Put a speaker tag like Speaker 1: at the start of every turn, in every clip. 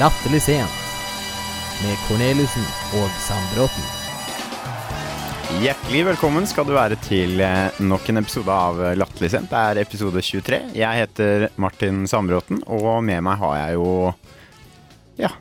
Speaker 1: Latterlig sent med Corneliussen og Sandbråten.
Speaker 2: Hjertelig velkommen skal du være til eh, nok en episode av eh, Latterlig sent. Det er episode 23. Jeg heter Martin Sandbråten, og med meg har jeg jo Ja,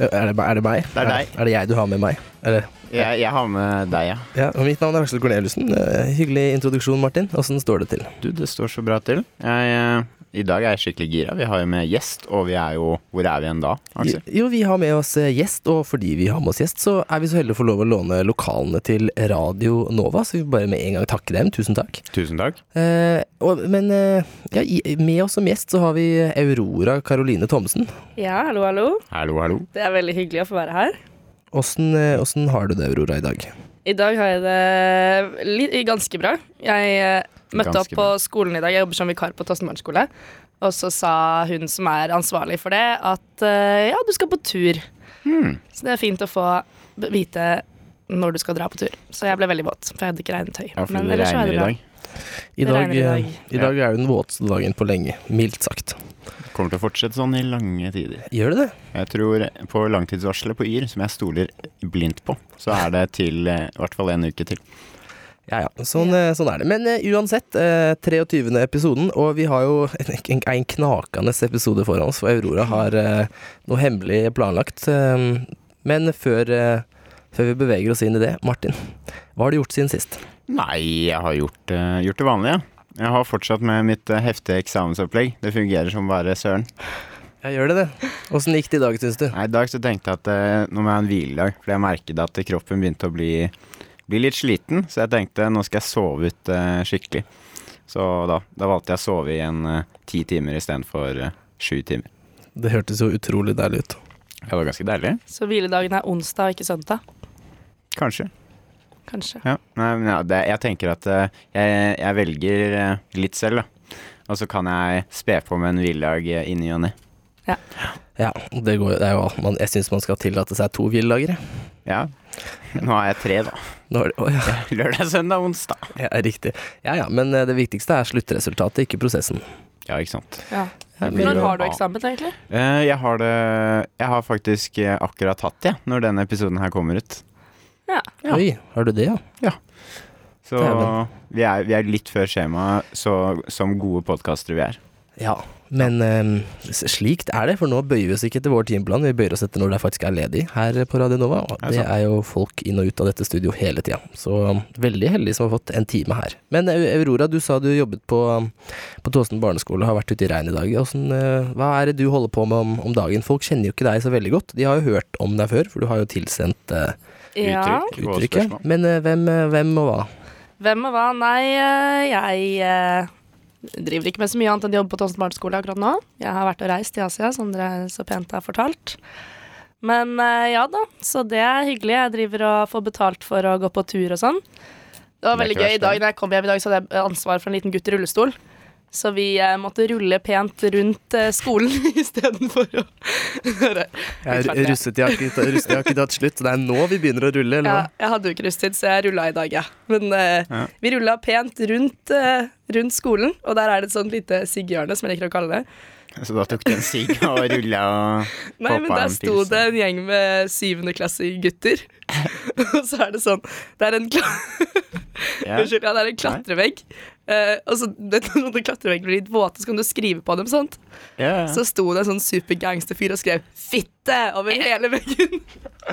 Speaker 3: Eh, Er det, er det meg?
Speaker 2: Det er deg.
Speaker 3: Er, det jeg du har med meg? Eller?
Speaker 2: jeg, jeg har med deg, ja.
Speaker 3: Ja, og mitt navn er Aksel Corneliussen. Eh, Hyggelig introduksjon, Martin. Åssen står det til?
Speaker 2: Du, det står så bra til. Jeg, eh, I dag er jeg skikkelig gira. Vi har jo med gjest, og vi er jo Hvor er vi igjen da, Aksel?
Speaker 3: Jo, vi har med oss eh, gjest, og fordi vi har med oss gjest, så er vi så heldige å få lov å låne lokalene til Radio Nova, så vi vil bare med en gang takke dem. Tusen takk.
Speaker 2: Tusen takk.
Speaker 3: Eh, og, men eh, ja, i- med oss som gjest så har vi eh, Aurora Caroline Thomsen.
Speaker 4: Ja, hallo, hallo.
Speaker 2: Hallo, hallo.
Speaker 4: Det er veldig hyggelig å få være her.
Speaker 3: Åssen eh, åssen har du det, Aurora, i dag?
Speaker 4: I dag har jeg det litt, ganske bra. Jeg eh, møtte
Speaker 2: Ganske
Speaker 4: opp på skolen i dag. Jeg jobber som vikar på Tåsenbarn skole. Og så sa hun som er ansvarlig for det, at eh, ja, du skal på tur.
Speaker 2: Hmm.
Speaker 4: Så det er fint å få b- vite når du skal dra på tur. Så jeg ble veldig våt, for jeg hadde ikke regnet høy.
Speaker 2: Ja, for det regner i dag.
Speaker 3: I
Speaker 4: Det
Speaker 3: dag,
Speaker 4: regner i dag.
Speaker 3: eh, i dag er det den våteste dagen på lenge. Mildt sagt.
Speaker 2: Kommer til å fortsette sånn i lange tider.
Speaker 3: Gjør det det?
Speaker 2: Jeg tror på langtidsvarselet på Yr, som jeg stoler blindt på, så er det til eh, i hvert fall en uke til.
Speaker 3: Ja, ja. Sånn, eh, sånn er det. Men eh, uansett, eh, 23. episoden, og vi har jo en, en, en knakende episode foran oss, for Aurora har eh, noe hemmelig planlagt. Eh, men før, eh, før vi beveger oss inn i det, Martin, hva har du gjort siden sist?
Speaker 2: Nei, jeg har gjort, eh, gjort det vanlige. Jeg har fortsatt med mitt eh, heftige eksamensopplegg. Det fungerer som bare søren.
Speaker 3: Ja, gjør det det? Åssen gikk det i dag, syns du?
Speaker 2: Nei, I dag så tenkte jeg at eh, nå må jeg ha en hviledag, fordi jeg merket at kroppen begynte å bli, bli litt sliten. Så jeg tenkte nå skal jeg sove ut eh, skikkelig. Så da, da valgte jeg å sove i en eh, ti timer istedenfor uh, sju timer.
Speaker 3: Det hørtes jo utrolig deilig ut.
Speaker 2: Det var ganske deilig.
Speaker 4: Så hviledagen er onsdag, ikke søndag.
Speaker 2: Kanskje.
Speaker 4: Kanskje.
Speaker 2: Ja. Nei, men ja, det, jeg tenker at eh, jeg, jeg velger eh, litt selv, da. Og så kan jeg spe på med en hviledag eh, i ny og ne.
Speaker 3: Ja, det går, det er jo, man, jeg syns man skal tillate seg to hviledager. jeg.
Speaker 2: Ja. Nå har jeg tre, da.
Speaker 3: Nå er det, å, ja,
Speaker 2: Lørdag, søndag, onsdag.
Speaker 3: ja, riktig. Ja ja, men eh, det viktigste er sluttresultatet, ikke prosessen.
Speaker 2: Ja, ikke sant. Eh,
Speaker 4: Ja.
Speaker 3: Det blir
Speaker 4: Når
Speaker 3: jo-
Speaker 4: har du eksamen, egentlig?
Speaker 2: jeg har det Jeg har faktisk eh, akkurat hatt det, når denne episoden her kommer ut.
Speaker 4: Ja.
Speaker 2: Ja.
Speaker 3: Oi, har du det, ja?
Speaker 2: Så
Speaker 3: Dæven.
Speaker 2: vi er, vi er litt før skjemaet, så- som gode podkastere vi er.
Speaker 3: Ja, men ehm, s- slikt er det, for nå bøyer vi oss ikke etter vår timeplan, vi bøyer oss etter når det faktisk er ledig her på Radio Nova. Og
Speaker 2: Ja,
Speaker 3: det
Speaker 2: sant.
Speaker 3: er jo folk inn og ut av dette studio hele tida, så um, veldig heldige som har fått en time her. Men eh, Aurora, du sa du jobbet på, um, på Tåsen barneskole og har vært ute i regn i dag. Hvordan, eh, hva er det du holder på med om, om dagen? Folk kjenner jo ikke deg så veldig godt. De har jo hørt om deg før, for du har jo tilsendt eh,
Speaker 4: ja.
Speaker 2: Uttrykk og
Speaker 3: uttrykket.
Speaker 2: spørsmål.
Speaker 3: Men eh, hvem, eh, hvem og hva?
Speaker 4: Hvem og hva? Nei, eh, jeg eh, driver ikke med så mye annet enn jobb på Thomsen barneskole akkurat nå. Jeg har vært og reist til Asia, som dere så pent har fortalt. Men eh, ja da, så det er hyggelig. Jeg driver og får betalt for å gå på tur og sånn. Det var
Speaker 2: Det er
Speaker 4: veldig
Speaker 2: ikke
Speaker 4: gøy.
Speaker 2: verst,
Speaker 4: I dag
Speaker 2: det.
Speaker 4: når jeg kom hjem i dag, så hadde jeg ansvar for en liten gutt i rullestol. Så vi eh, måtte rulle pent rundt eh, skolen istedenfor å Jeg er ru-
Speaker 3: Russejakke tatt slutt, det er nå vi begynner å rulle,
Speaker 4: Ja, jeg hadde jo ikke rusttid, så jeg rulla i dag, ja. Men eh,
Speaker 2: Ja.
Speaker 4: vi rulla pent rundt, eh, rundt skolen, og der er det et sånt lite sigghjørne, som jeg liker å kalle det.
Speaker 2: Så da tok du en sigg og rulla og
Speaker 4: Nei,
Speaker 2: poppa
Speaker 4: men der
Speaker 2: en
Speaker 4: sto
Speaker 2: pils.
Speaker 4: det en gjeng med syvendeklassegutter, og så er det sånn Det er en, kla
Speaker 2: Ja.
Speaker 4: Unnskyld, ja, det er en klatrevegg. Eh, og så det, når klatreveggen blir litt våte, så kan du skrive på dem. sant?
Speaker 2: Ja, ja.
Speaker 4: Så sto det en sånn supergangsterfyr og skrev 'fitte' over hele veggen.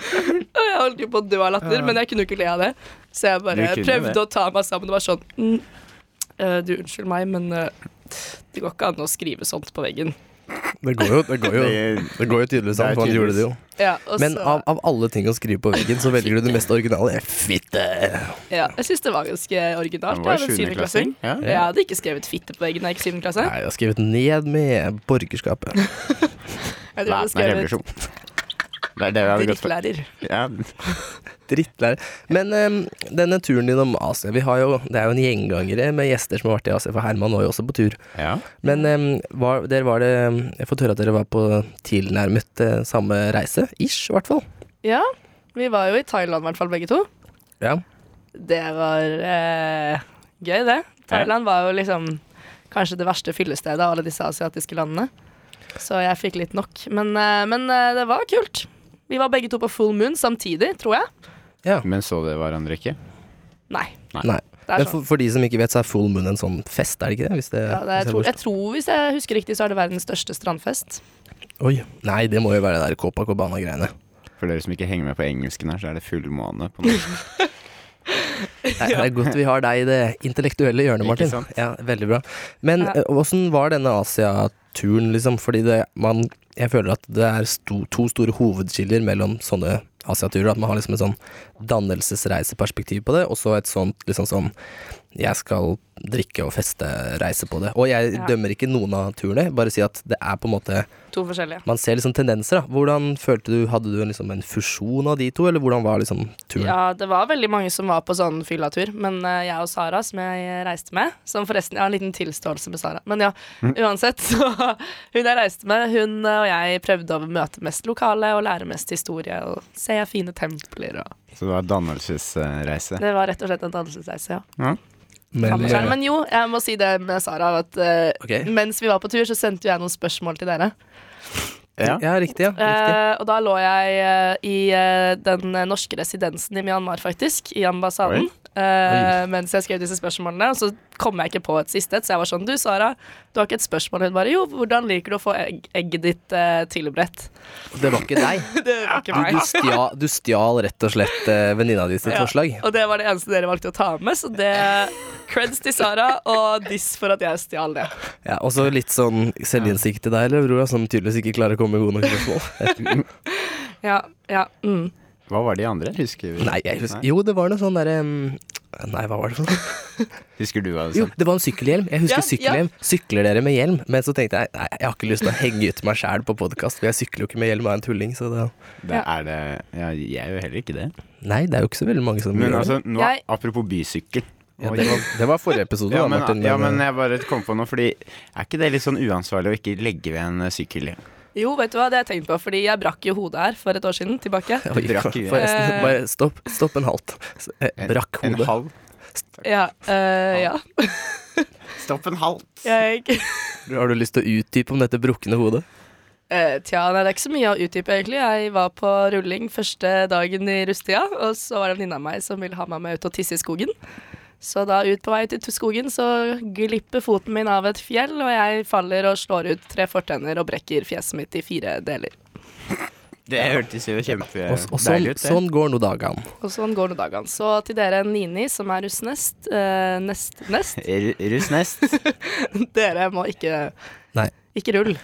Speaker 4: og jeg holdt jo på å dø av latter, men jeg kunne jo ikke le av det. Så jeg bare
Speaker 2: Du kunne
Speaker 4: prøvde
Speaker 2: det.
Speaker 4: å ta meg sammen og var sånn mm, eh, Du, unnskyld meg, men eh, det går ikke an å skrive sånt på veggen.
Speaker 3: Det går jo, det går jo,
Speaker 2: Det-
Speaker 3: det går jo tydeligvis
Speaker 2: Det
Speaker 3: an,
Speaker 2: er
Speaker 3: for han gjorde
Speaker 2: tydeligvis.
Speaker 3: det jo.
Speaker 4: Ja, og
Speaker 3: Men
Speaker 4: så,
Speaker 3: av, av alle ting å skrive på veggen, så velger du det mest originale. Fitte!
Speaker 4: ja, jeg syns det var ganske
Speaker 2: Han
Speaker 4: originalt.
Speaker 2: var
Speaker 4: Jeg er en
Speaker 2: sjuendeklassing.
Speaker 4: syvendeklassing.
Speaker 2: Ja.
Speaker 4: Jeg hadde ikke skrevet 'fitte' på veggen da jeg gikk i syvende klasse.
Speaker 3: Nei, jeg har skrevet ned med borgerskapet.
Speaker 4: Jeg tror jeg hadde
Speaker 2: Væpna revolusjon. Det er det vi hadde
Speaker 4: skrevet
Speaker 2: gått for.
Speaker 4: drittlærer.
Speaker 2: Ja,
Speaker 3: Drittlærer. Men em, denne turen din om Asia, vi har jo, det er jo en gjengangere med gjester som har vært i Asia, for Herman var jo også på tur.
Speaker 2: ja.
Speaker 3: Men
Speaker 4: Mm.
Speaker 3: em, var, dere var det Jeg har fått høre at dere var på tilnærmet eh, samme reise. Ish, i hvert fall.
Speaker 4: Ja, vi var jo i Thailand i hvert fall, begge to.
Speaker 3: Ja.
Speaker 4: Det var eh, gøy, det. Thailand var jo liksom kanskje det verste fyllestedet av alle disse asiatiske landene. Så jeg fikk litt nok. Men, eh, men eh, det var kult. Vi var begge to på full moon samtidig, tror jeg.
Speaker 2: Men så dere hverandre ikke?
Speaker 4: Nei.
Speaker 3: Nei.
Speaker 4: Det er
Speaker 3: Men
Speaker 4: sånn.
Speaker 3: for, for de som ikke vet, så er full moon en sånn fest, er det ikke det? Hvis det,
Speaker 4: Ja, det er, jeg,
Speaker 3: hvis
Speaker 4: tror,
Speaker 3: jeg
Speaker 4: jeg tror, hvis jeg husker riktig, så er det verdens største strandfest.
Speaker 3: forstår- Oi. Nei, det må jo være det der Copacabana-greiene.
Speaker 2: For dere som ikke henger med på engelsken her, så er det fullmåne på norsk.
Speaker 3: Det er godt vi har deg i det intellektuelle hjørnet,
Speaker 2: Ikke
Speaker 3: Martin.
Speaker 2: sant?
Speaker 3: Ja, veldig bra. Men
Speaker 4: Ja.
Speaker 3: eh, åssen var denne Asia-turen, liksom? Fordi det, man Jeg føler at det er sto, to store hovedskiller mellom sånne Asia-turer. At man har liksom et sånn dannelsesreiseperspektiv på det, og så et sånt liksom sånn jeg skal drikke og feste, reise på det. Og jeg
Speaker 4: Ja.
Speaker 3: dømmer ikke noen av turene, bare si at det er på en måte
Speaker 4: To forskjellige.
Speaker 3: Man ser liksom tendenser, da. Hvordan følte du Hadde du liksom en fusjon av de to, eller hvordan var liksom turen?
Speaker 4: Ja, det var veldig mange som var på sånn fyllatur, men eh, jeg og Sara, som jeg reiste med Som forresten, jeg har en liten tilståelse med Sara, men ja,
Speaker 3: Mm.
Speaker 4: uansett. Så hun jeg reiste med, hun eh, og jeg prøvde å møte mest lokale og lære mest historie og se fine templer og
Speaker 2: Så det var dannelsesreise.
Speaker 4: Det var rett og slett en dannelsesreise, ja.
Speaker 3: Men, eh,
Speaker 4: Kan man skjære, Men jo, jeg må si det med Sara, at eh,
Speaker 3: Ok.
Speaker 4: mens vi var på tur, så sendte jo jeg noen spørsmål til dere.
Speaker 2: Ja.
Speaker 3: ja, riktig, ja. Riktig.
Speaker 4: Eh, og da lå jeg eh, i eh, den eh, norske residensen i Myanmar, faktisk, i ambassaden. eh, mens jeg skrev disse spørsmålene, og så kom jeg ikke på et siste et, så jeg var sånn Du, Sara, du har ikke et spørsmål. Hun bare Jo, hvordan liker du å få egg, egget ditt eh, tilberedt?
Speaker 3: Det var ikke deg.
Speaker 4: Det var ikke
Speaker 3: Du,
Speaker 4: meg.
Speaker 3: du, stjal, du stjal rett og slett eh, venninna di sitt
Speaker 4: Ja,
Speaker 3: forslag.
Speaker 4: Og det var det eneste dere valgte å ta med, så det Creds til Sara, og diss for at jeg stjal det.
Speaker 3: Ja, og så litt sånn selvinnsikt til deg, eller, bror, som tydeligvis ikke klarer å komme med gode nok spørsmål.
Speaker 4: Ja, ja, mm.
Speaker 2: Hva var de andre? Husker vi?
Speaker 3: Nei, jeg husker Jo, det var noe sånn derre mm, Nei, hva var det for noe?
Speaker 2: Husker du hva du
Speaker 3: Jo,
Speaker 2: sa?
Speaker 3: det var en sykkelhjelm. Jeg husker
Speaker 4: Ja,
Speaker 3: sykkelhjelm. Sykler dere med hjelm? Men så tenkte jeg nei, jeg har ikke lyst til å henge ut meg sjæl på podkast, for jeg sykler jo ikke med hjelm og er en tulling, så det
Speaker 2: Det er det Ja, jeg gjør heller ikke det.
Speaker 3: Nei, det er jo ikke så veldig mange som
Speaker 2: Men
Speaker 3: gjør det.
Speaker 2: altså, nå,
Speaker 4: Jeg-
Speaker 2: apropos bysykkel.
Speaker 3: Ja,
Speaker 2: Oi.
Speaker 3: det, var, det var forrige episode,
Speaker 2: Ja
Speaker 3: da,
Speaker 2: men,
Speaker 3: Martin.
Speaker 2: ja, men jeg bare kom på noe, fordi er ikke det litt sånn uansvarlig å ikke legge ved en eh, sykkel?
Speaker 4: Jo, vet du hva, det har jeg tenkt på, fordi jeg brakk jo hodet her for et år siden tilbake.
Speaker 3: Oi,
Speaker 2: Du drakk i-
Speaker 3: Forresten, bare stopp, stopp en halvt. Så, eh,
Speaker 2: En-
Speaker 3: Brakk
Speaker 2: En
Speaker 3: hodet.
Speaker 2: halv?
Speaker 4: Ja, eh, ja.
Speaker 2: Stopp en halv!
Speaker 4: Jeg,
Speaker 3: Har du lyst til å utdype om dette brukne hodet?
Speaker 4: Eh, tja, nei, det er ikke så mye å utdype, egentlig. Jeg var på rulling første dagen i rusttida, og så var det en venninne av meg som ville ha meg med ut og tisse i skogen. Så da ut på vei ut i skogen, så glipper foten min av et fjell, og jeg faller og slår ut tre fortenner og brekker fjeset mitt i fire deler.
Speaker 2: Det hørtes jo
Speaker 3: Og, og sånn,
Speaker 2: kjempedeilig Eh, ut. det.
Speaker 3: sånn går nå dagene.
Speaker 4: Og sånn går nå dagene. Så til dere Nini, som er russ nest, eh, nest, nest
Speaker 2: R- Russnest.
Speaker 4: Dere må ikke
Speaker 3: Nei.
Speaker 4: Ikke rull.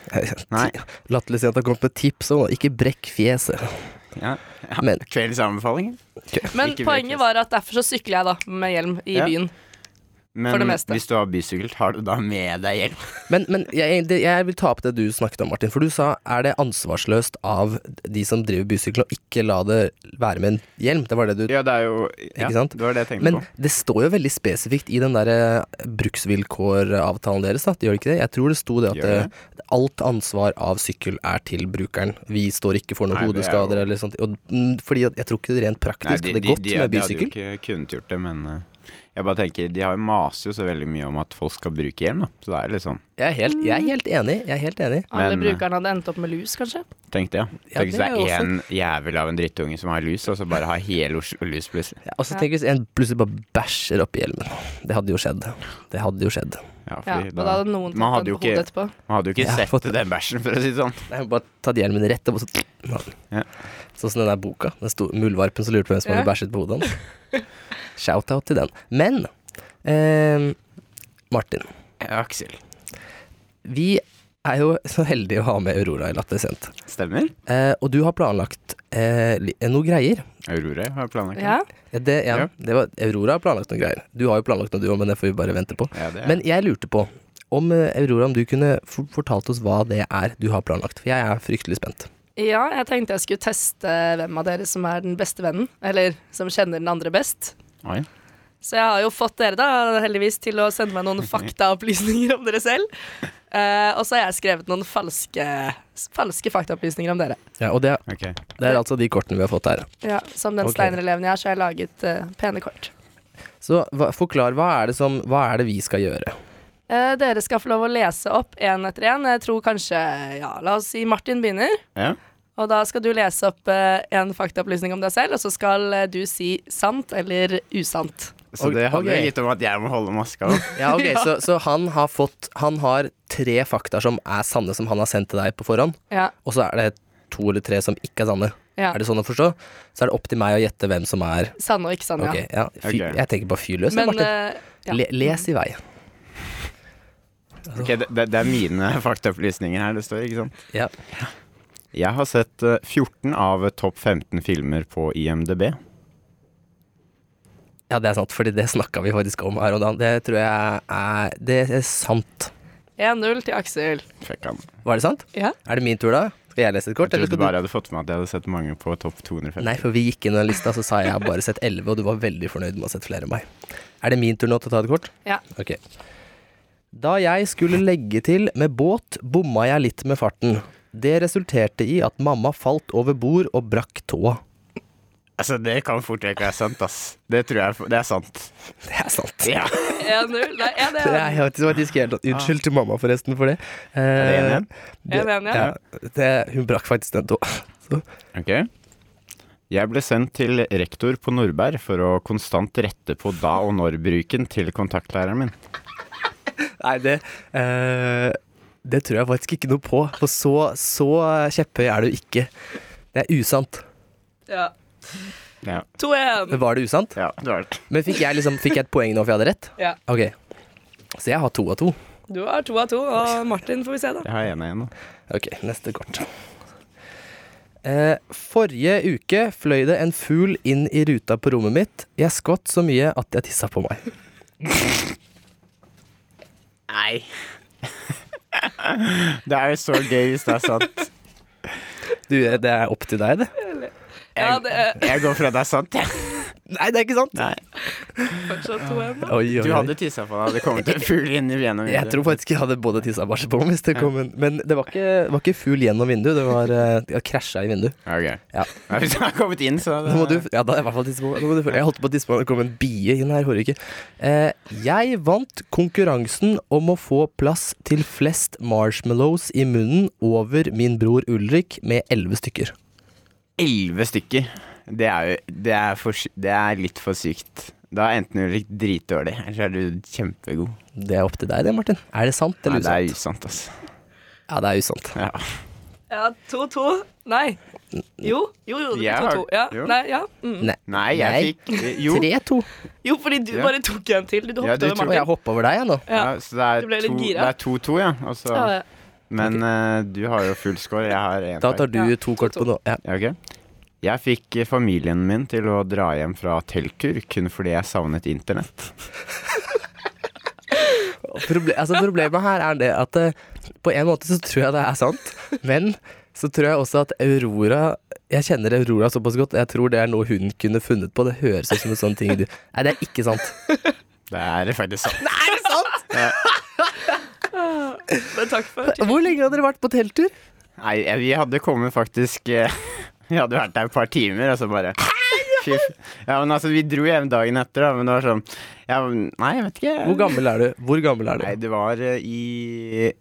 Speaker 2: Nei.
Speaker 3: Latterligstjenta kom med tips om å ikke brekk fjeset.
Speaker 2: Ja.
Speaker 3: Men
Speaker 2: Kveldens anbefaling.
Speaker 4: Men
Speaker 2: Ikke
Speaker 4: poenget
Speaker 2: brekkes.
Speaker 4: var at derfor så sykler jeg da med hjelm i
Speaker 2: Ja.
Speaker 4: byen.
Speaker 2: Men
Speaker 4: For det meste.
Speaker 2: hvis du har bysykkel, tar du da med deg hjelp?
Speaker 3: Men, men jeg, det, jeg vil ta opp det du snakket om, Martin. For du sa er det ansvarsløst av de som driver bysykkel å ikke la det være med en hjelm. Det var det du
Speaker 2: Ja, det er jo ja,
Speaker 3: Ikke sant?
Speaker 2: Det var det jeg tenkte
Speaker 3: Men
Speaker 2: på.
Speaker 3: det står jo veldig spesifikt i den der eh, bruksvilkåravtalen deres, da. Gjør det ikke det? Jeg tror det sto det at
Speaker 2: Gjør det?
Speaker 3: eh, alt ansvar av sykkel er til brukeren. Vi står ikke for noen
Speaker 2: Nei, det er jo-
Speaker 3: hodeskader eller sånt. Og, mm, fordi at jeg tror ikke det rent praktisk
Speaker 2: de,
Speaker 3: hadde
Speaker 2: de,
Speaker 3: gått
Speaker 2: de,
Speaker 3: med
Speaker 2: de hadde jo
Speaker 3: bysykkel.
Speaker 2: ikke kunnet gjort det, men eh, jeg bare tenker, de har jo maser jo så veldig mye om at folk skal bruke hjelm, da. Så det er litt sånn,
Speaker 3: Jeg er, helt, jeg er helt enig. Jeg er helt enig.
Speaker 4: Alle
Speaker 2: Men-
Speaker 4: brukerne hadde endt opp med lus, kanskje.
Speaker 2: tenkte jeg.
Speaker 3: Ja,
Speaker 2: Tenk hvis
Speaker 3: det
Speaker 2: det
Speaker 3: er
Speaker 2: er
Speaker 3: jo
Speaker 2: én jævel av en drittunge som har lus, og så bare har hele Oslo lus plutselig.
Speaker 3: Ja, og så
Speaker 4: Ja.
Speaker 3: tenk hvis en plutselig bare bæsjer oppi hjelmen. Det hadde jo skjedd. Det hadde jo skjedd.
Speaker 2: Ja,
Speaker 4: Ja,
Speaker 2: fordi
Speaker 4: og da hadde noen
Speaker 2: man
Speaker 4: tatt
Speaker 2: hadde
Speaker 4: den
Speaker 2: jo
Speaker 4: på hodet
Speaker 2: ikke,
Speaker 4: etterpå.
Speaker 2: man hadde jo ikke
Speaker 3: Ja,
Speaker 2: sett
Speaker 3: fått-
Speaker 2: den bæsjen, for å si det sånn.
Speaker 3: Nei, bare tatt hjelmen rett opp, og så
Speaker 2: Ja.
Speaker 3: Sånn som den der boka. Den sto, muldvarpen som lurte på hvem som
Speaker 4: Ja.
Speaker 3: hadde bæsjet på hodet hans. Shout-out til den. Men eh, Martin,
Speaker 2: Aksel.
Speaker 3: vi er jo så heldige å ha med Aurora i Latter Sent.
Speaker 2: Stemmer.
Speaker 3: Eh, og du har planlagt eh, li- noe greier.
Speaker 2: Aurora har planlagt det.
Speaker 4: Ja.
Speaker 3: Ja, Det, ja,
Speaker 2: Ja.
Speaker 3: det var, Aurora har planlagt noe greier. Du har jo planlagt noe, du òg, men det får vi bare vente på.
Speaker 2: Ja, det er.
Speaker 3: Men jeg lurte på om eh, Aurora, om du kunne for- fortalt oss hva det er du har planlagt. For jeg er fryktelig spent.
Speaker 4: ja, jeg tenkte jeg skulle teste hvem av dere som er den beste vennen, eller som kjenner den andre best.
Speaker 2: Oi.
Speaker 4: Så jeg har jo fått dere, da, heldigvis, til å sende meg noen faktaopplysninger om dere selv. Eh, og så har jeg skrevet noen falske, falske faktaopplysninger om dere.
Speaker 3: Ja, og det,
Speaker 2: Ok.
Speaker 3: det er altså de kortene vi har fått her.
Speaker 4: Ja, Som den
Speaker 3: Ok.
Speaker 4: Steiner-eleven jeg er, så har jeg laget eh, pene kort.
Speaker 3: Så hva, forklar, hva er, det som, hva er det vi skal gjøre?
Speaker 4: Eh, dere skal få lov å lese opp én etter én. Jeg tror kanskje Ja, la oss si Martin begynner.
Speaker 2: Ja.
Speaker 4: Og da skal du lese opp eh, en faktaopplysning om deg selv, og så skal eh, du si sant eller usant.
Speaker 2: Så det handler
Speaker 3: Ok.
Speaker 2: litt om at jeg må holde maska opp.
Speaker 3: Ja, ok, Så, så han har fått Han har tre fakta som er sanne, som han har sendt til deg på forhånd.
Speaker 4: Ja.
Speaker 3: Og så er det to eller tre som ikke er sanne.
Speaker 4: ja.
Speaker 3: Er det sånn å forstå? Så er det opp til meg å gjette hvem som er
Speaker 4: Sanne og ikke sanne,
Speaker 3: Ok, ja. Fy,
Speaker 2: Ok.
Speaker 3: Jeg tenker bare fyr løs,
Speaker 4: ja.
Speaker 3: jeg,
Speaker 4: Men
Speaker 3: Martin.
Speaker 4: eh, ja.
Speaker 3: Le, les i vei.
Speaker 2: Ok, det, det, det er mine faktaopplysninger her det står, ikke sant?
Speaker 3: Ja.
Speaker 2: Jeg har sett eh, 14 av topp 15 filmer på IMDb.
Speaker 3: ja, det er sant, Fordi det snakka vi faktisk om her og da. Det tror jeg er Det er sant.
Speaker 4: 1-0 til Aksel.
Speaker 2: Fikk han.
Speaker 3: Var det sant?
Speaker 4: Ja.
Speaker 3: Er det min tur, da? Skal jeg lese
Speaker 2: Jeg
Speaker 3: et kort? eller
Speaker 2: trodde
Speaker 3: skal du-
Speaker 2: bare jeg hadde fått med at jeg hadde sett mange på topp 250.
Speaker 3: Nei, for vi gikk inn i den lista, så sa jeg jeg har bare sett 11, og du var veldig fornøyd med å ha sett flere enn meg. Er det min tur nå til å ta et kort?
Speaker 4: Ja.
Speaker 3: Ok. Da jeg skulle legge til med båt, bomma jeg litt med farten. Det resulterte i at mamma falt over bord og brakk tåa.
Speaker 2: Altså, det kan fort ikke være sant, ass. Det tror jeg Det er sant.
Speaker 3: Det er sant.
Speaker 2: Ja.
Speaker 4: 1-0. Nei,
Speaker 3: Det er
Speaker 4: 1-1.
Speaker 3: helt- det var faktisk helt sant. Unnskyld til mamma, forresten, for det. Eh,
Speaker 2: Er det
Speaker 3: det-
Speaker 4: 1-1, ja.
Speaker 3: ja, det- hun brakk faktisk den tåa.
Speaker 2: Ok. Jeg ble sendt til rektor på Nordberg for å konstant rette på da og når-bruken til kontaktlæreren min.
Speaker 3: Nei, det eh, Det tror jeg faktisk ikke noe på. For så, så kjepphøy er du ikke. Det er usant.
Speaker 4: ja.
Speaker 2: Ja.
Speaker 4: 2-1.
Speaker 3: Men Var det usant?
Speaker 2: ja det var det.
Speaker 3: Men fikk jeg, liksom, fikk jeg et poeng nå for jeg hadde rett?
Speaker 4: Ja.
Speaker 3: Ok. Så jeg har to av to.
Speaker 4: Du har to av to, og Martin får vi se, da.
Speaker 2: Jeg har ene igjen nå.
Speaker 3: Ok, neste kort. Eh, forrige uke fløy det en fugl inn i ruta på rommet mitt. Jeg skvatt så mye at jeg tissa på meg.
Speaker 2: Nei. det er jo så gøy hvis det er sant.
Speaker 3: Du, det er opp til deg, det.
Speaker 4: Ja, det er
Speaker 2: Jeg går fra det er sant, jeg.
Speaker 3: Nei, det er ikke sant.
Speaker 2: Nei.
Speaker 4: fortsatt 2-1. da.
Speaker 3: Oi, oi,
Speaker 2: Du
Speaker 3: oi.
Speaker 2: hadde tissa på deg, det kom til en fugl inn i gjennom
Speaker 3: Jeg tror faktisk jeg hadde både tissa og bæsja på meg. Hvis det kom en. Men det var ikke, var ikke fugl gjennom vinduet, det var eh, krasja i vinduet.
Speaker 2: Ok.
Speaker 3: Ja.
Speaker 2: Ja, Hvis han har kommet inn, så
Speaker 3: Nå må du, ja, da er jeg i hvert fall tisse på meg. Nå må du følge- Jeg holdt på å tisse på meg, det kom en bie inn her forrige uke. Eh, jeg vant konkurransen om å få plass til flest marshmallows i munnen over min bror Ulrik med elleve stykker.
Speaker 2: Elleve stykker. Det er jo det er, for, sy- det er litt for sykt. Da er enten Ulrik dritdårlig, eller så er du kjempegod.
Speaker 3: Det er opp til deg det, Martin. Er det sant
Speaker 2: Nei,
Speaker 3: eller
Speaker 2: det er usant,
Speaker 3: usant?
Speaker 2: altså.
Speaker 3: Ja, det er usant.
Speaker 2: Ja.
Speaker 4: Ja, 2-2. Nei. Jo, jo, jo. Det
Speaker 2: Jeg
Speaker 4: blir
Speaker 2: har-
Speaker 4: 2-2. Ja.
Speaker 2: jo.
Speaker 4: Nei, ja. Mm.
Speaker 3: Nei.
Speaker 2: Nei, jeg fikk Jo.
Speaker 3: 3-2.
Speaker 4: Jo, fordi du
Speaker 2: Ja.
Speaker 4: bare tok en til. Du
Speaker 2: Ja,
Speaker 4: hoppet
Speaker 2: du tok-
Speaker 4: over
Speaker 3: Og jeg
Speaker 4: Martin.
Speaker 3: hoppa over deg, jeg nå.
Speaker 2: Ja,
Speaker 4: Ja.
Speaker 2: så det
Speaker 4: Du ble
Speaker 2: er
Speaker 4: litt
Speaker 2: to- det
Speaker 4: gira.
Speaker 2: er 2-2, ja. Og så-
Speaker 4: Ja, ja.
Speaker 2: men eh, du har jo full score, jeg har én
Speaker 3: Da tar du
Speaker 4: Ja,
Speaker 3: to kort på nå. Ja.
Speaker 2: Ja, ok. Jeg fikk eh, familien min til å dra hjem fra telttur kun fordi jeg savnet internett.
Speaker 3: Proble altså, problemet her er det at eh, på en måte så tror jeg det er sant, men så tror jeg også at Aurora Jeg kjenner Aurora såpass godt, og jeg tror det er noe hun kunne funnet på. Det høres ut som en sånn ting du Nei, det er ikke sant.
Speaker 2: Det er faktisk sant.
Speaker 3: Er det sant?
Speaker 4: Men takk for
Speaker 3: Hvor lenge har dere vært på telttur?
Speaker 2: Nei, eh, vi hadde kommet faktisk eh, Vi hadde vært der et par timer, og så bare Fy f- Ja, men altså, vi dro hjem dagen etter, da, men det var sånn ja, men- Nei, jeg vet ikke.
Speaker 3: Hvor gammel er du? Hvor gammel er du?
Speaker 2: Nei, det var eh, i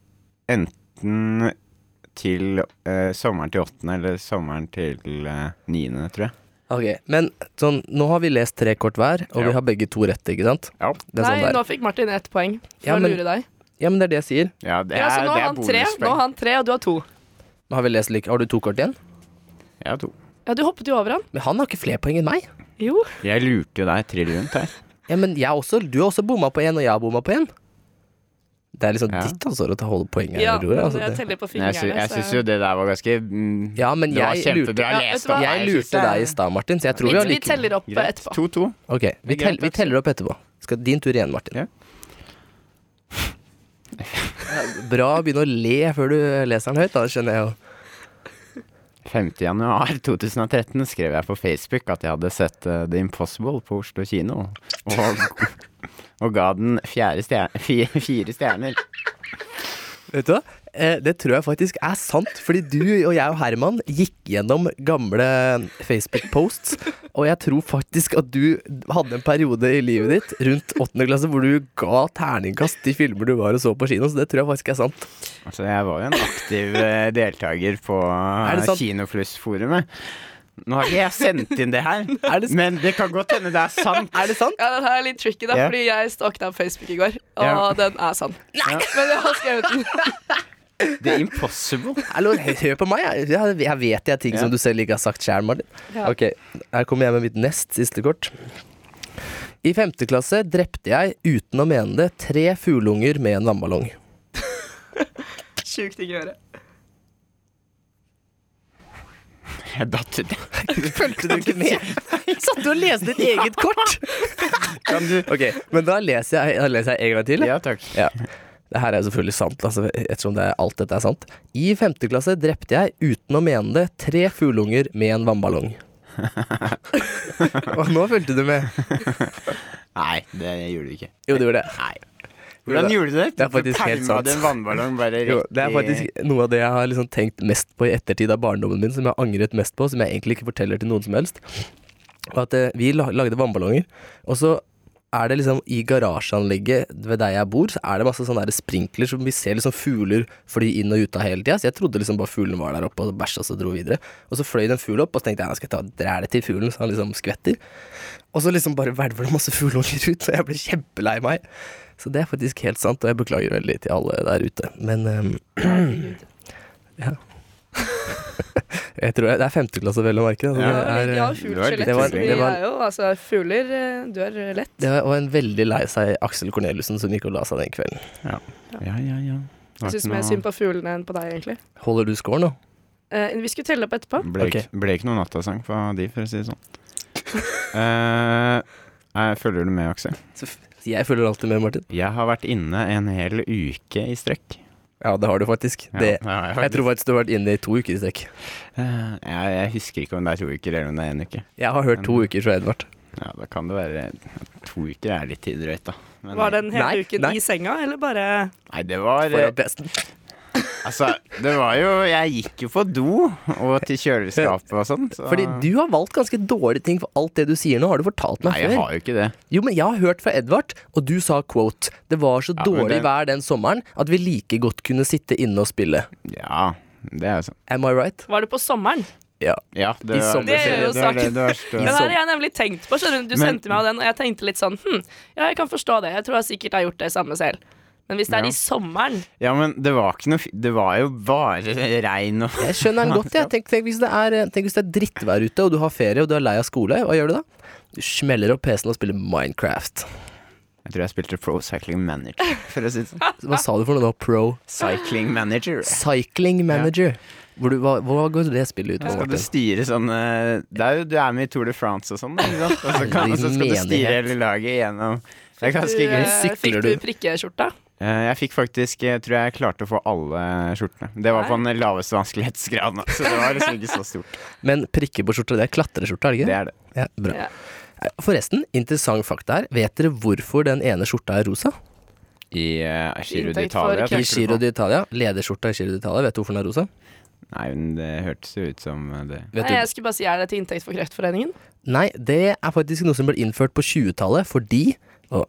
Speaker 2: enten til eh, sommeren til åttende eller sommeren til eh, niende, tror jeg.
Speaker 3: Ok, Men sånn, nå har vi lest tre kort hver, og
Speaker 2: Ja.
Speaker 3: vi har begge to rett, ikke sant?
Speaker 2: Ja,
Speaker 3: Det er sånn
Speaker 4: Nei,
Speaker 3: det er.
Speaker 4: nå fikk Martin ett poeng for
Speaker 3: Ja, men-
Speaker 4: å lure deg.
Speaker 3: Ja, men det er det jeg sier.
Speaker 2: ja det er,
Speaker 4: Ja, så nå
Speaker 2: det
Speaker 4: har
Speaker 2: er
Speaker 4: han tre, nå har han tre, og du har to.
Speaker 3: Har, vi lest, lik- har du to kort igjen?
Speaker 2: Ja, to.
Speaker 4: Ja, du hoppet jo over han.
Speaker 3: Men han har ikke flere poeng enn meg.
Speaker 4: Jo.
Speaker 2: Jeg lurte jo deg trill rundt her.
Speaker 3: Ja, men jeg også, du har også bomma på én, og jeg har bomma på én. Det er liksom
Speaker 2: Ja.
Speaker 3: ditt ansvar å ta holde poenget.
Speaker 4: Ja,
Speaker 3: Aurora,
Speaker 4: men
Speaker 3: altså,
Speaker 4: jeg
Speaker 3: det.
Speaker 4: teller på
Speaker 2: Men jeg, sy
Speaker 4: fingrene.
Speaker 2: jeg syns jo det der var ganske mm,
Speaker 3: ja men
Speaker 2: Det var
Speaker 3: jeg lurte,
Speaker 2: kjempebra
Speaker 4: Ja, vet
Speaker 2: lest
Speaker 4: du hva?
Speaker 2: opp.
Speaker 3: jeg lurte deg i stad, Martin, så jeg tror vi
Speaker 4: Vi,
Speaker 3: har
Speaker 4: vi
Speaker 3: like
Speaker 4: teller opp
Speaker 2: Greit.
Speaker 4: etterpå.
Speaker 2: 2-2.
Speaker 3: Ok, vi,
Speaker 2: Det er
Speaker 3: tell,
Speaker 2: greit,
Speaker 3: vi
Speaker 2: altså.
Speaker 3: teller opp etterpå. Skal, din tur igjen, Martin.
Speaker 2: Ja.
Speaker 3: Bra å begynne å le før du leser den høyt, da skjønner jeg jo.
Speaker 2: 5. januar 2013 skrev jeg på Facebook at jeg hadde sett eh, The Impossible på Oslo kino, og, og ga den fjerde stjer fi- fire stjerner.
Speaker 3: Vet du hva? Eh, Det tror jeg faktisk er sant, fordi du og jeg og Herman gikk gjennom gamle Facebook-posts, og jeg tror faktisk at du hadde en periode i livet ditt rundt åttende klasse hvor du ga terningkast til filmer du var og så på kino, så det tror jeg faktisk er sant.
Speaker 2: Altså, jeg var jo en aktiv eh, deltaker på eh,
Speaker 3: Er det sant?
Speaker 2: Kinofluss-forumet. Nå har ikke jeg sendt inn det her,
Speaker 3: Er det sant?
Speaker 2: men det kan godt hende det er sant.
Speaker 3: Er det sant?
Speaker 4: Ja, den her er litt tricky, da,
Speaker 2: Ja.
Speaker 4: fordi jeg stalkna Facebook i går, og
Speaker 2: Ja.
Speaker 4: den er sann.
Speaker 2: Ja.
Speaker 4: Men jeg har skrevet den.
Speaker 2: The Impossible.
Speaker 3: Hallo, hør på meg, jeg, jeg- jeg vet jeg er ting
Speaker 2: Ja.
Speaker 3: som du selv ikke har sagt sjæl, Martin.
Speaker 4: Ja.
Speaker 3: Ok, her kommer jeg med mitt nest siste kort. I femte klasse drepte jeg, uten å mene det, tre fugleunger med en vannballong.
Speaker 4: Sjukt ting å gjøre.
Speaker 2: Jeg datt ut.
Speaker 3: Fulgte du ikke med? Satt du og leste ditt eget kort?
Speaker 2: Kan du
Speaker 3: Ok, men da leser jeg, da leser jeg en gang til. jeg.
Speaker 2: Ja, takk.
Speaker 3: Ja. Det her er jo selvfølgelig sant, altså, ettersom det er, alt dette er sant. I femte klasse drepte jeg, uten å mene det, tre fugleunger med en vannballong. og nå fulgte du med.
Speaker 2: Nei, det gjorde du ikke.
Speaker 3: Jo, du gjorde det.
Speaker 2: Nei. Hvordan gjorde du det?
Speaker 3: Det er faktisk helt
Speaker 2: du
Speaker 3: sant.
Speaker 2: Du en vannballong bare rett
Speaker 3: Jo, det er
Speaker 2: i
Speaker 3: faktisk noe av det jeg har liksom tenkt mest på i ettertid av barndommen min, som jeg har angret mest på, som jeg egentlig ikke forteller til noen som helst. Og at eh, Vi la- lagde vannballonger, og så er det liksom i garasjeanlegget ved der jeg bor, så er det masse sånne der sprinkler som vi ser liksom fugler fly inn og ut av hele tida. Så jeg trodde liksom bare fuglen var der oppe og bæsja og så dro videre. Og så fløy det en fugl opp, og så tenkte jeg nå skal jeg ta dræle til fuglen, så han liksom skvetter. Og så liksom bare hvelver det masse fugleunger ut, og jeg ble kjempelei meg. Så det er faktisk helt sant, og jeg beklager veldig til alle der ute. Men ehm, ja. jeg tror jeg, Det er femteklasse, vel å merke. da, så
Speaker 2: Ja.
Speaker 3: det er, eh,
Speaker 4: Ja,
Speaker 2: du er litt
Speaker 4: fuglskjelett.
Speaker 3: Det var-
Speaker 4: så Vi
Speaker 3: det var-
Speaker 4: er jo altså fugler eh, dør lett.
Speaker 3: Det var en veldig lei seg Aksel Corneliussen som gikk og la seg den kvelden.
Speaker 2: Ja, ja, ja. Det var
Speaker 4: Jeg syns
Speaker 2: ikke
Speaker 4: mer
Speaker 2: noe-
Speaker 4: synd på fuglene enn på deg, egentlig.
Speaker 3: Holder du score nå?
Speaker 4: Eh, vi skulle telle opp etterpå.
Speaker 2: Ble,
Speaker 3: Ok.
Speaker 2: ikke, ble ikke noen nattasang fra de, for å si det sånn. Eh, eh, følger du med, Aksel?
Speaker 3: Jeg følger alltid med, Martin.
Speaker 2: Jeg har vært inne en hel uke i strekk.
Speaker 3: Ja, det har du faktisk.
Speaker 2: Ja,
Speaker 3: det,
Speaker 2: det har jeg
Speaker 3: jeg tror faktisk du har vært inne i to uker i strekk.
Speaker 2: Eh, jeg, jeg husker ikke om det er to uker eller om det er én uke.
Speaker 3: Jeg har hørt to uker fra Edvard.
Speaker 2: Ja, Da kan det være To uker er litt drøyt, da. Men-
Speaker 4: Var den hele
Speaker 3: Nei,
Speaker 4: uken
Speaker 3: nei.
Speaker 4: i senga, eller bare
Speaker 2: Nei, det var eh,
Speaker 3: Foran PC-en.
Speaker 2: Altså, det var jo Jeg gikk jo på do og til kjøleskapet og sånn. Så.
Speaker 3: Fordi du har valgt ganske dårlige ting for alt det du sier nå, har du fortalt meg
Speaker 2: Nei, jeg
Speaker 3: før.
Speaker 2: har jo ikke det.
Speaker 3: Jo, men jeg har hørt fra Edvard, og du sa quote. Det var så
Speaker 2: Ja, men
Speaker 3: dårlig
Speaker 2: det-
Speaker 3: vær den sommeren at vi like godt kunne sitte inne og spille.
Speaker 2: Ja, det er jo sånn.
Speaker 3: Am I right?
Speaker 4: Var det på sommeren?
Speaker 3: Ja.
Speaker 2: Ja, det
Speaker 3: I
Speaker 2: var-
Speaker 3: sommer-
Speaker 4: Det er jo
Speaker 2: var-
Speaker 4: saken.
Speaker 2: det var stort.
Speaker 4: Den her har jeg nemlig tenkt på. skjønner Du Du
Speaker 2: Men-
Speaker 4: sendte meg den, og jeg tenkte litt sånn Hm, ja, jeg kan forstå det. Jeg tror jeg sikkert har gjort det samme selv. Men hvis det er
Speaker 2: Ja.
Speaker 4: i sommeren
Speaker 2: Ja, men det var ikke noe fi- Det var jo bare regn og
Speaker 3: Jeg skjønner den godt. Jeg. Tenk, tenk, hvis det er, tenk hvis det er drittvær ute, og du har ferie og du er lei av skole. Hva gjør du da? Du smeller opp PC-en og spiller Minecraft.
Speaker 2: Jeg tror jeg spilte Pro Cycling Manager, for å si det sånn.
Speaker 3: Hva sa du for noe nå? Pro
Speaker 2: Cycling Manager.
Speaker 3: Cycling Manager. Hvor du, hva, hva går det spillet ut på?
Speaker 2: Skal du
Speaker 3: Martin?
Speaker 2: styre sånn eh, Det er jo du er med i Tour de France og sånn, da, ikke sant? Og så, kan, og så skal du styre hele laget igjennom. Det er ganske
Speaker 4: du,
Speaker 2: gøy.
Speaker 4: eh,
Speaker 3: Sykler du?
Speaker 4: Fikk du prikkeskjorta?
Speaker 2: Eh, Jeg fikk faktisk Jeg tror jeg klarte å få alle skjortene. Det var på den laveste vanskelighetsgraden, så det var liksom ikke så stort.
Speaker 3: Men prikker på skjorta, det er klatreskjorta, er det
Speaker 2: Det
Speaker 3: ikke?
Speaker 2: er det.
Speaker 3: Ja, bra.
Speaker 4: Ja.
Speaker 3: Forresten, interessant fakta her. Vet dere hvorfor den ene skjorta er rosa?
Speaker 2: I uh, Giro
Speaker 4: Inntekt for
Speaker 2: d'Italia.
Speaker 4: Hvem
Speaker 3: I
Speaker 2: tenker du på?
Speaker 3: Giro d'Italia, lederskjorta i Giro d'Italia, vet du hvorfor den er rosa?
Speaker 2: Nei, men det hørtes jo ut som eh, det
Speaker 3: Vet
Speaker 4: Nei,
Speaker 3: du?
Speaker 4: jeg skulle bare si er det til inntekt for Kreftforeningen?
Speaker 3: Nei, det er faktisk noe som ble innført på 20-tallet fordi å,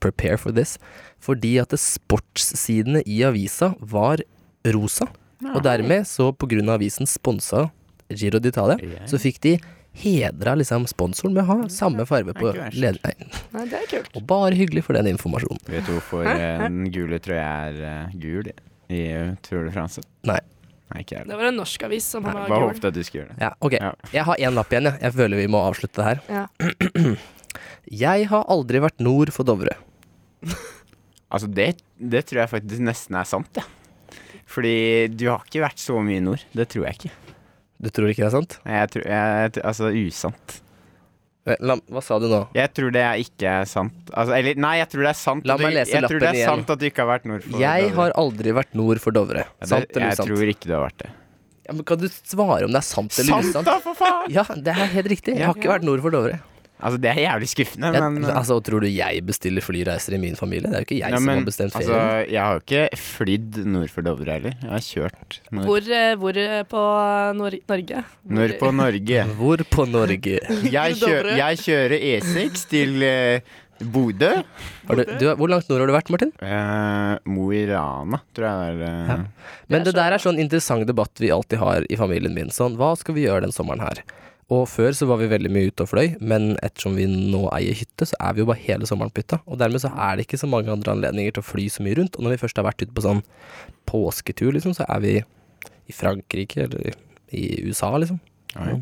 Speaker 3: Prepare for this. Fordi at det sportssidene i avisa var rosa.
Speaker 2: Ah,
Speaker 3: Og dermed, så på grunn av avisen sponsa Giro d'Italia,
Speaker 2: Ja.
Speaker 3: så fikk de hedra liksom sponsoren med å ha samme farge på
Speaker 2: Det er Mm. ikke verst.
Speaker 3: leder... Nei,
Speaker 4: Nei, det er kult.
Speaker 3: og bare hyggelig for den informasjonen.
Speaker 2: Vet du hvorfor eh, den gule trøya er eh, gul i eh, Tour de France?
Speaker 3: Nei.
Speaker 2: Nei, ikke jeg.
Speaker 4: Det var en norskavis som
Speaker 2: Nei,
Speaker 4: var
Speaker 2: Bare
Speaker 4: gul.
Speaker 2: håpet at du skulle gjøre det.
Speaker 3: Ja, ok.
Speaker 2: Ja.
Speaker 3: Jeg har én lapp igjen, jeg. Jeg føler vi må avslutte det her.
Speaker 4: Ja.
Speaker 3: Jeg har aldri vært nord for Dovre.
Speaker 2: Altså, det, det tror jeg faktisk nesten er sant, ja. Fordi du har ikke vært så mye i nord. Det tror jeg ikke.
Speaker 3: Du tror ikke det er sant?
Speaker 2: Nei, Jeg tror, jeg, altså, usant.
Speaker 3: Eh, La, hva sa du nå?
Speaker 2: Jeg tror det er ikke sant. Altså, eller nei, jeg tror det er sant.
Speaker 3: La
Speaker 2: at du-
Speaker 3: meg lese
Speaker 2: jeg tror det er
Speaker 3: lappen igjen.
Speaker 2: sant at du ikke har vært nord for
Speaker 3: Jeg
Speaker 2: Dovre.
Speaker 3: har aldri vært nord for Dovre.
Speaker 2: Ja, det-
Speaker 3: Sant eller
Speaker 2: Jeg
Speaker 3: usant?
Speaker 2: tror ikke du har vært det.
Speaker 3: Ja, men kan du svare om det er sant eller
Speaker 2: Sant,
Speaker 3: usant?
Speaker 2: da, for faen!
Speaker 3: Ja, det er helt riktig. Jeg har ikke vært nord for Dovre.
Speaker 2: Altså, det er jævlig skuffende,
Speaker 3: Jeg,
Speaker 2: men eh,
Speaker 3: altså, tror du jeg bestiller flyreiser i min familie? Det er jo ikke jeg
Speaker 2: Ja,
Speaker 3: som
Speaker 2: men,
Speaker 3: har bestemt
Speaker 2: altså,
Speaker 3: ferien.
Speaker 2: jeg har jo ikke flydd nord for Dovre heller. Jeg har kjørt nord,
Speaker 4: Hvor, eh, hvor eh, på Nor Norge? Hvor-
Speaker 2: nord på Norge.
Speaker 3: Hvor på Norge?
Speaker 2: Jeg, kjø
Speaker 4: Dovre.
Speaker 2: jeg kjører E6 til eh, Bodø.
Speaker 3: Har du, du, har- hvor langt nord har du vært, Martin?
Speaker 2: Eh, Mo i Rana, tror jeg det er. eh.
Speaker 3: Men
Speaker 4: Det er
Speaker 3: det der er sånn interessant debatt vi alltid har i familien min. Sånn, hva skal vi gjøre den sommeren her? Og før så var vi veldig mye ute og fløy, men ettersom vi nå eier hytte, så er vi jo bare hele sommeren på hytta. Og dermed så er det ikke så mange andre anledninger til å fly så mye rundt. Og når vi først har vært ute på sånn påsketur, liksom, så er vi i Frankrike eller i USA, liksom.
Speaker 2: Oi.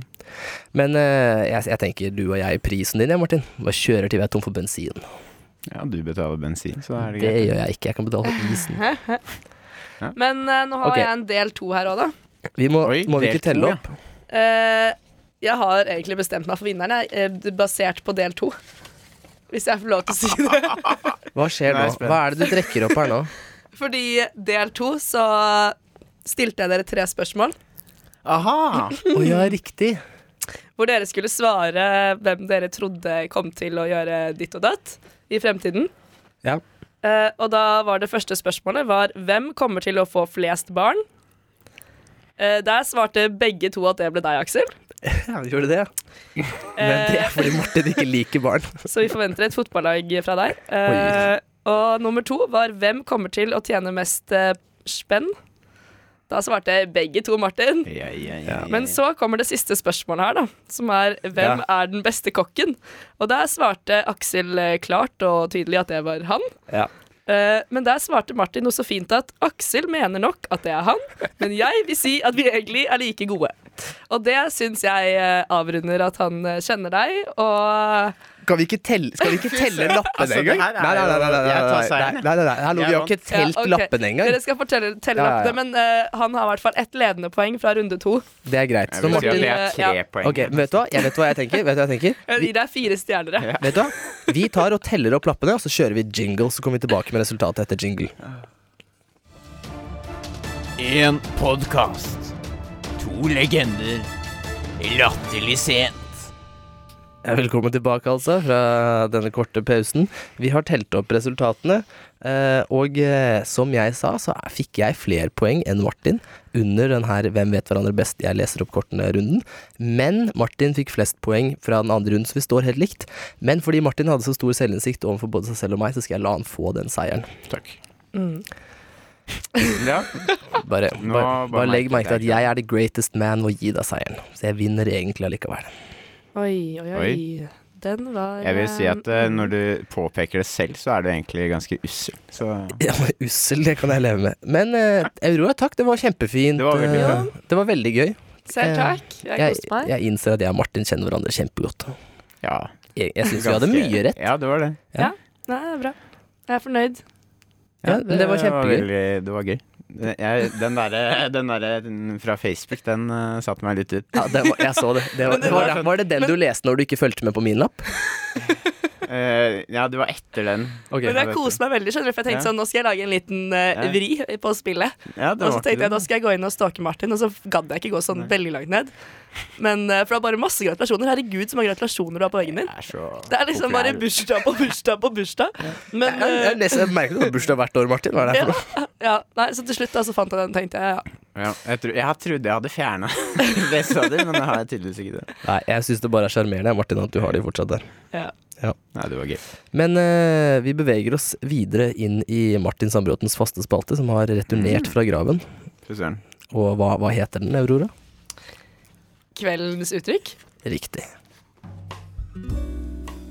Speaker 3: Men eh, jeg, jeg tenker du og jeg, prisen din, ja, Martin. Bare kjører til vi er tom for bensin.
Speaker 2: Ja, du betaler bensin, så er det
Speaker 3: Det
Speaker 2: greit.
Speaker 3: gjør jeg ikke. Jeg kan betale for isen.
Speaker 4: Men eh, nå har
Speaker 3: Ok.
Speaker 4: jeg en del to her òg, da.
Speaker 3: Vi må,
Speaker 2: Oi,
Speaker 3: må vi
Speaker 2: del
Speaker 3: ikke
Speaker 2: to,
Speaker 3: telle
Speaker 2: ja.
Speaker 3: opp?
Speaker 4: Eh, jeg har egentlig bestemt meg for vinneren, jeg, eh, basert på del to. Hvis jeg får lov til å si det.
Speaker 3: Hva
Speaker 2: Nå
Speaker 3: skjer
Speaker 2: er
Speaker 3: nå?
Speaker 2: jeg spent.
Speaker 3: Hva er det du trekker opp her nå?
Speaker 4: Fordi del to så stilte jeg dere tre spørsmål.
Speaker 2: Aha!
Speaker 3: Å ja, riktig.
Speaker 4: Hvor dere skulle svare hvem dere trodde kom til å gjøre ditt og datt i fremtiden.
Speaker 3: Ja.
Speaker 4: Eh, og da var det første spørsmålet var hvem kommer til å få flest barn? Eh, der svarte begge to at det ble deg, Aksel.
Speaker 3: Ja, vi gjorde det, ja. Men det er fordi Martin ikke liker barn.
Speaker 4: Så vi forventer et fotballag fra deg. Eh, og nummer to var hvem kommer til å tjene mest eh, spenn? Da svarte begge to Martin.
Speaker 2: Ja, ja, ja,
Speaker 4: Men så kommer det siste spørsmålet her, da. Som er hvem er den beste kokken? Og der svarte Aksel eh, klart og tydelig at det var han.
Speaker 3: Ja.
Speaker 4: Eh, men der svarte Martin noe så fint at Aksel mener nok at det er han, men jeg vil si at vi egentlig er like gode. Og det syns jeg eh, avrunder at han eh, kjenner deg, og
Speaker 3: Skal vi ikke telle, skal vi ikke telle
Speaker 2: Altså,
Speaker 3: lappene
Speaker 2: det
Speaker 3: engang?
Speaker 2: her er
Speaker 3: Nei, nei, nei. nei, nei,
Speaker 2: Jeg tar
Speaker 3: nei,
Speaker 2: seieren,
Speaker 3: nei,
Speaker 2: jeg.
Speaker 3: nei, nei, nei. Hallo, vi har ikke telt
Speaker 4: Ja, ok.
Speaker 3: lappene engang.
Speaker 4: Dere skal fortelle, telle
Speaker 3: Ja, ja, ja.
Speaker 4: lappene, men eh, han har i hvert fall ett ledende poeng fra runde to.
Speaker 3: Det er greit.
Speaker 2: Jeg
Speaker 3: Så
Speaker 2: vil si at
Speaker 3: Martin
Speaker 2: det er tre
Speaker 4: ja.
Speaker 2: poeng.
Speaker 3: Ok, vet du hva? Jeg vet hva jeg tenker. Vet du hva jeg tenker?
Speaker 4: Jeg gir deg Eh, fire stjerner. jeg.
Speaker 3: Vet du hva? Vi tar og teller opp lappene, og så kjører vi jingle. Så kommer vi tilbake med resultatet etter jingle.
Speaker 5: En podkast. To legender. Latterlig sent.
Speaker 3: Ja, Eh, Velkommen tilbake altså fra denne korte pausen. Vi har telt opp resultatene, eh, og eh, som jeg sa, så fikk jeg flere poeng enn Martin under den her Hvem vet hverandre best, jeg leser opp kortene-runden. Men Martin fikk flest poeng fra den andre runden, så vi står helt likt. Men fordi Martin hadde så stor selvinnsikt overfor både seg selv og meg, så skal jeg la han få den seieren.
Speaker 2: Takk. Ja,
Speaker 3: Bare,
Speaker 2: Nå
Speaker 3: bare,
Speaker 2: bare
Speaker 3: bare legg
Speaker 2: merket
Speaker 3: merke til at
Speaker 2: jeg
Speaker 3: jeg er the greatest man og gi deg seieren. Så jeg vinner egentlig allikevel.
Speaker 4: Oi, oi, oi. Den var
Speaker 2: jeg vil si
Speaker 4: eh,
Speaker 2: at eh, når du påpeker det selv, så er du egentlig ganske ussel. Så
Speaker 3: Ja, men Ussel, det kan jeg leve med. Men eh, Aurora, takk. Det var kjempefint.
Speaker 2: Det var veldig
Speaker 3: eh, det var veldig gøy.
Speaker 4: Selv takk. eh, Jeg
Speaker 3: Jeg,
Speaker 4: koste meg.
Speaker 3: jeg innser at jeg og Martin kjenner hverandre kjempegodt.
Speaker 2: ja.
Speaker 3: Jeg, jeg syns vi hadde
Speaker 2: ganske-
Speaker 3: mye rett.
Speaker 2: Ja, det var det.
Speaker 4: Nei, det er bra. Jeg er fornøyd.
Speaker 3: Ja, men det var kjempegøy.
Speaker 2: veldig- det var gøy. Jeg, den derre den der, den fra Facebook, den eh, satte meg litt ut.
Speaker 3: Ja, det var, jeg så det. det, var, det var, var det den du leste når du ikke fulgte med på min lapp?
Speaker 2: Eh, ja, det var etter den.
Speaker 3: Ok.
Speaker 4: Men
Speaker 2: jeg
Speaker 4: jeg
Speaker 2: vet
Speaker 4: koste meg veldig, skjønner du, for jeg
Speaker 2: Ja.
Speaker 4: tenkte sånn, nå skal jeg lage en liten eh,
Speaker 2: Ja.
Speaker 4: vri på spillet.
Speaker 2: Ja, det
Speaker 4: Og så
Speaker 2: var
Speaker 4: tenkte
Speaker 2: ikke
Speaker 4: jeg, da skal jeg gå inn og stalke Martin, og så gadd jeg ikke gå sånn veldig langt ned. Men, eh, for det var bare masse gratulasjoner. Herregud, så mange gratulasjoner du har på veggen din.
Speaker 2: Jeg er så
Speaker 4: Det er liksom bare
Speaker 2: populær.
Speaker 4: bursdag på bursdag på bursdag. Men
Speaker 3: Jeg, jeg,
Speaker 4: eh,
Speaker 3: leser- jeg merker at du har bursdag hvert år, Martin. Hva er det for noe?
Speaker 4: ja, nei, så til slutt da, så fant jeg den, tenkte jeg, ja.
Speaker 2: Ja, jeg, tro, jeg trodde jeg hadde fjerna det, sa de, men det har jeg tydeligvis ikke. det
Speaker 3: Nei, jeg syns det bare er sjarmerende, Martin, at du har de fortsatt der.
Speaker 4: ja.
Speaker 2: Nei, det var gøy.
Speaker 3: Men eh, vi beveger oss videre inn i Martin Sandbråtens faste spalte, som har returnert fra graven.
Speaker 2: Fy søren.
Speaker 3: Og hva, hva heter den, Aurora?
Speaker 4: Kveldens uttrykk.
Speaker 3: Riktig.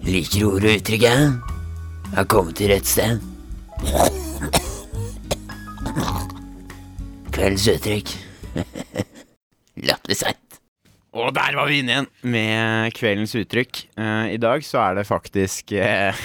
Speaker 5: Liker ordet og uttrykket? Har kommet til rett sted. Kveldens uttrykk. Latterlig seint.
Speaker 2: Og der var vi inne igjen med kveldens uttrykk. Eh, I dag så er det faktisk eh,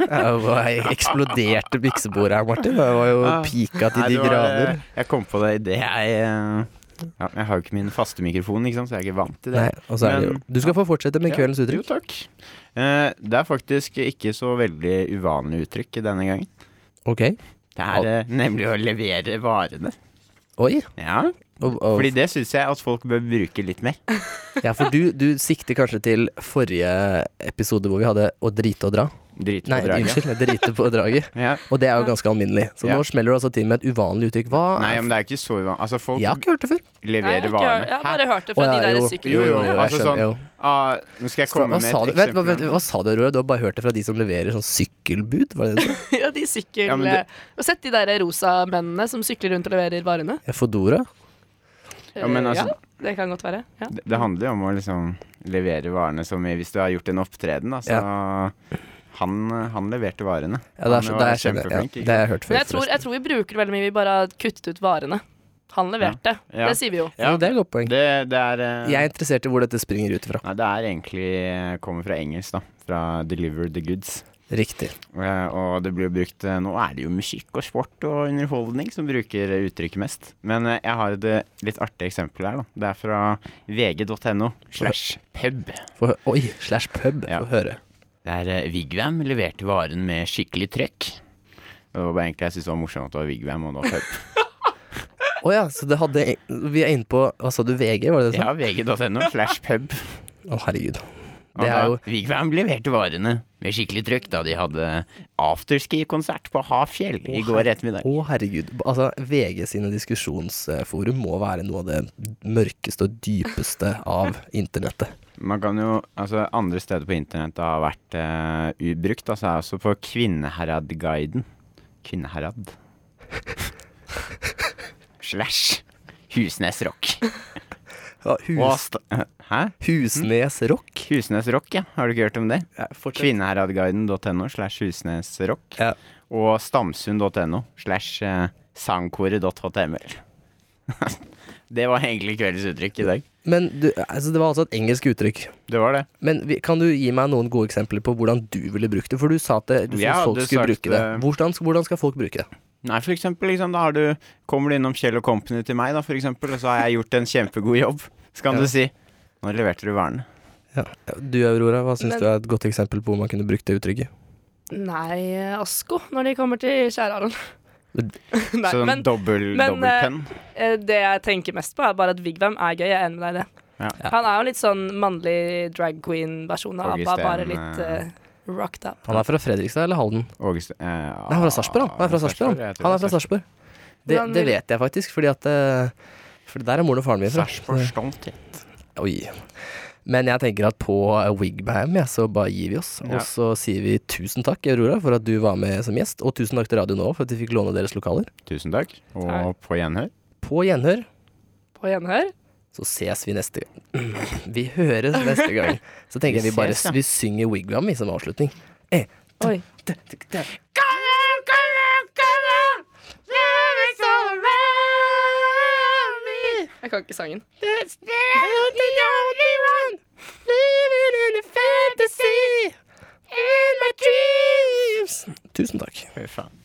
Speaker 3: Ja, hva er- eksploderte byksebordet her, Martin. Det var jo
Speaker 2: Ah.
Speaker 3: pika til
Speaker 2: nei,
Speaker 3: de
Speaker 2: det var,
Speaker 3: grader.
Speaker 2: eh, Jeg kom på det idet jeg eh, ja, Jeg har jo ikke min faste mikrofon, ikke sant, så jeg er ikke vant til det.
Speaker 3: Nei, og så er det jo
Speaker 2: Men-
Speaker 3: Du skal få fortsette med kveldens
Speaker 2: Jo,
Speaker 3: uttrykk.
Speaker 2: takk. Eh, det er faktisk ikke så veldig uvanlig uttrykk denne gangen.
Speaker 3: Ok.
Speaker 2: Det er eh, nemlig å levere varene.
Speaker 3: Oi.
Speaker 2: Ja,
Speaker 3: Og, og,
Speaker 2: fordi det syns jeg at folk bør bruke litt mer.
Speaker 3: Ja, for du, du sikter kanskje til forrige episode hvor vi hadde å drite og dra.
Speaker 2: Drit på
Speaker 3: Nei,
Speaker 2: draget.
Speaker 3: unnskyld. Drite på draget.
Speaker 2: Ja.
Speaker 3: Og det er jo ganske alminnelig. Så
Speaker 2: Ja.
Speaker 3: nå smeller du altså til med et uvanlig uttrykk. Hva
Speaker 2: Nei,
Speaker 3: er
Speaker 2: men det er ikke så uvanlig. Altså, folk
Speaker 3: Jeg har ikke hørt det før.
Speaker 4: Nei, jeg
Speaker 2: leverer
Speaker 4: har ikke hørt-
Speaker 2: varene.
Speaker 4: Jeg har bare hørt det fra
Speaker 3: Å, ja,
Speaker 4: de
Speaker 3: jo.
Speaker 4: der
Speaker 2: Jo, jo,
Speaker 4: sykkelordene.
Speaker 2: altså
Speaker 3: jeg skjønner,
Speaker 2: sånn
Speaker 3: jo.
Speaker 2: ah, Nå skal jeg komme
Speaker 3: Hva
Speaker 2: med
Speaker 3: sa, du,
Speaker 2: et
Speaker 3: vet, hva, vet,
Speaker 2: eksempel.
Speaker 3: hva sa du, Aurora? Du har bare hørt det fra de som leverer sånn sykkelbud? Var det det?
Speaker 4: Ja, de sykkel...
Speaker 2: Ja, men det-
Speaker 4: Og sett de der rosa mennene som sykler rundt og leverer varene.
Speaker 3: Ja, Fodora?
Speaker 2: Ja, men
Speaker 4: Eh,
Speaker 2: altså-
Speaker 4: ja, det kan godt være. Ja.
Speaker 2: Det- Det handler jo om å liksom levere varene som i Hvis du har gjort en opptreden, da, så han, han leverte varene.
Speaker 3: Ja, det er,
Speaker 2: Han
Speaker 3: så-
Speaker 2: var
Speaker 3: det er, skjønner,
Speaker 2: kjempeflink,
Speaker 3: jeg. ja,
Speaker 2: ikke
Speaker 3: det har jeg hørt før.
Speaker 4: Men jeg tror, jeg tror vi bruker det veldig mye. Vi bare har kuttet ut varene. Han leverte.
Speaker 2: Ja.
Speaker 4: Det sier vi jo.
Speaker 3: ja.
Speaker 2: Ja,
Speaker 3: Det er et godt poeng.
Speaker 2: det, det er eh,
Speaker 3: Jeg er interessert i hvor dette springer ut fra.
Speaker 2: Nei, det er egentlig eh, kommer fra engelsk, da. Fra 'deliver the goods'.
Speaker 3: Riktig.
Speaker 2: Eh, Og det blir jo brukt eh, Nå er det jo musikk og sport og underholdning som bruker eh, uttrykket mest. Men eh, jeg har et eh, litt artig eksempel her, da. Det er fra vg.no slash pub.
Speaker 3: Få hø- oi, slash pub.
Speaker 2: Ja.
Speaker 3: Få høre.
Speaker 2: Der eh, Vigvam leverte varen med skikkelig trøkk. Det var bare egentlig jeg syntes det var morsomt at det var Vigvam og da pub.
Speaker 3: Å ja, så det hadde Vi er inne på Hva sa du, VG? Var det det du
Speaker 2: Ja,
Speaker 3: sa?
Speaker 2: vg.no slash pub.
Speaker 3: Å, herregud.
Speaker 2: Og
Speaker 3: Det er
Speaker 2: da
Speaker 3: jo
Speaker 2: Vigvam leverte varene med skikkelig trøkk da de hadde afterski-konsert på Hafjell i går ettermiddag.
Speaker 3: Å, herregud. Altså, VG sine diskusjonsforum må være noe av det mørkeste og dypeste av internettet.
Speaker 2: Man kan jo, altså Andre steder på internett det har vært eh, ubrukt. Altså er også på Kvinneherad-guiden. Kvinneherad. Slash Husnes Rock.
Speaker 3: Ja,
Speaker 2: Og
Speaker 3: hus,
Speaker 2: sta Hæ?
Speaker 3: Husnes Rock.
Speaker 2: Husnes Rock, ja. Har du ikke hørt om det?
Speaker 3: Ja, fortsett.
Speaker 2: Kvinneheradguiden.no slash husnesrock.
Speaker 3: Ja.
Speaker 2: Og stamsund.no slash eh, sangkoret.html. det var egentlig kveldens uttrykk i dag.
Speaker 3: Men du, altså, det var altså et engelsk uttrykk.
Speaker 2: Det var det.
Speaker 3: Men vi- kan du gi meg noen gode eksempler på hvordan du ville brukt det? For du sa at det, du
Speaker 2: Ja,
Speaker 3: syntes folk
Speaker 2: det
Speaker 3: skulle
Speaker 2: sagt,
Speaker 3: bruke det.
Speaker 2: eh,
Speaker 3: Hvordan, hvordan skal folk bruke det?
Speaker 2: Nei, for eksempel, liksom, da har du, kommer du innom Kjell og Company til meg, da, for eksempel, og så har jeg gjort en kjempegod jobb. Så kan
Speaker 3: Ja.
Speaker 2: du si Nå leverte du varene.
Speaker 3: Ja. Du Aurora, hva syns
Speaker 4: Men-
Speaker 3: du er et godt eksempel på hvor man kunne brukt det uttrykket?
Speaker 4: Nei, Asko, når de kommer til kjære Aron. Nei,
Speaker 2: så
Speaker 4: men
Speaker 2: en dobbel,
Speaker 4: men,
Speaker 2: dobbel
Speaker 4: eh,
Speaker 2: pønn.
Speaker 4: eh, det jeg tenker mest på, er bare at Vigvam er gøy. Jeg er enig med deg i det.
Speaker 2: Ja.
Speaker 3: Ja.
Speaker 4: Han er jo litt sånn mannlig drag queen-versjon av ABBA,
Speaker 2: August
Speaker 4: bare
Speaker 2: Steen,
Speaker 4: litt
Speaker 2: eh,
Speaker 4: eh, rocked up.
Speaker 3: Han er fra Fredrikstad eller Halden?
Speaker 2: August, eh,
Speaker 3: Nei, han er fra Sarpsborg, han. Han er fra Sarpsborg.
Speaker 2: jeg
Speaker 3: Han.
Speaker 2: tror
Speaker 3: Han er
Speaker 2: det
Speaker 3: fra Sarpsborg. Det,
Speaker 4: Hvordan
Speaker 3: det
Speaker 4: vil-
Speaker 3: vet jeg faktisk, fordi at eh, For der er moren og faren min fra.
Speaker 2: Sarpsborg Stolt, ja.
Speaker 3: Oi. Men jeg tenker at på Wigbam, ja, så bare gir vi oss.
Speaker 2: Ja.
Speaker 3: Og så sier vi tusen takk, Aurora, for at du var med som gjest. Og tusen takk til Radio Nå for at vi fikk låne deres lokaler.
Speaker 2: Tusen takk, og
Speaker 4: Takk.
Speaker 2: på gjenhør.
Speaker 3: På gjenhør.
Speaker 4: På gjenhør.
Speaker 3: Så ses vi neste gang. Vi høres neste gang. Så tenker jeg vi bare
Speaker 2: ses, ja.
Speaker 3: vi synger Wigwam i som avslutning. Eh,
Speaker 4: Oi. Jeg kan ikke sangen.
Speaker 3: Tusen takk.
Speaker 2: Fy faen.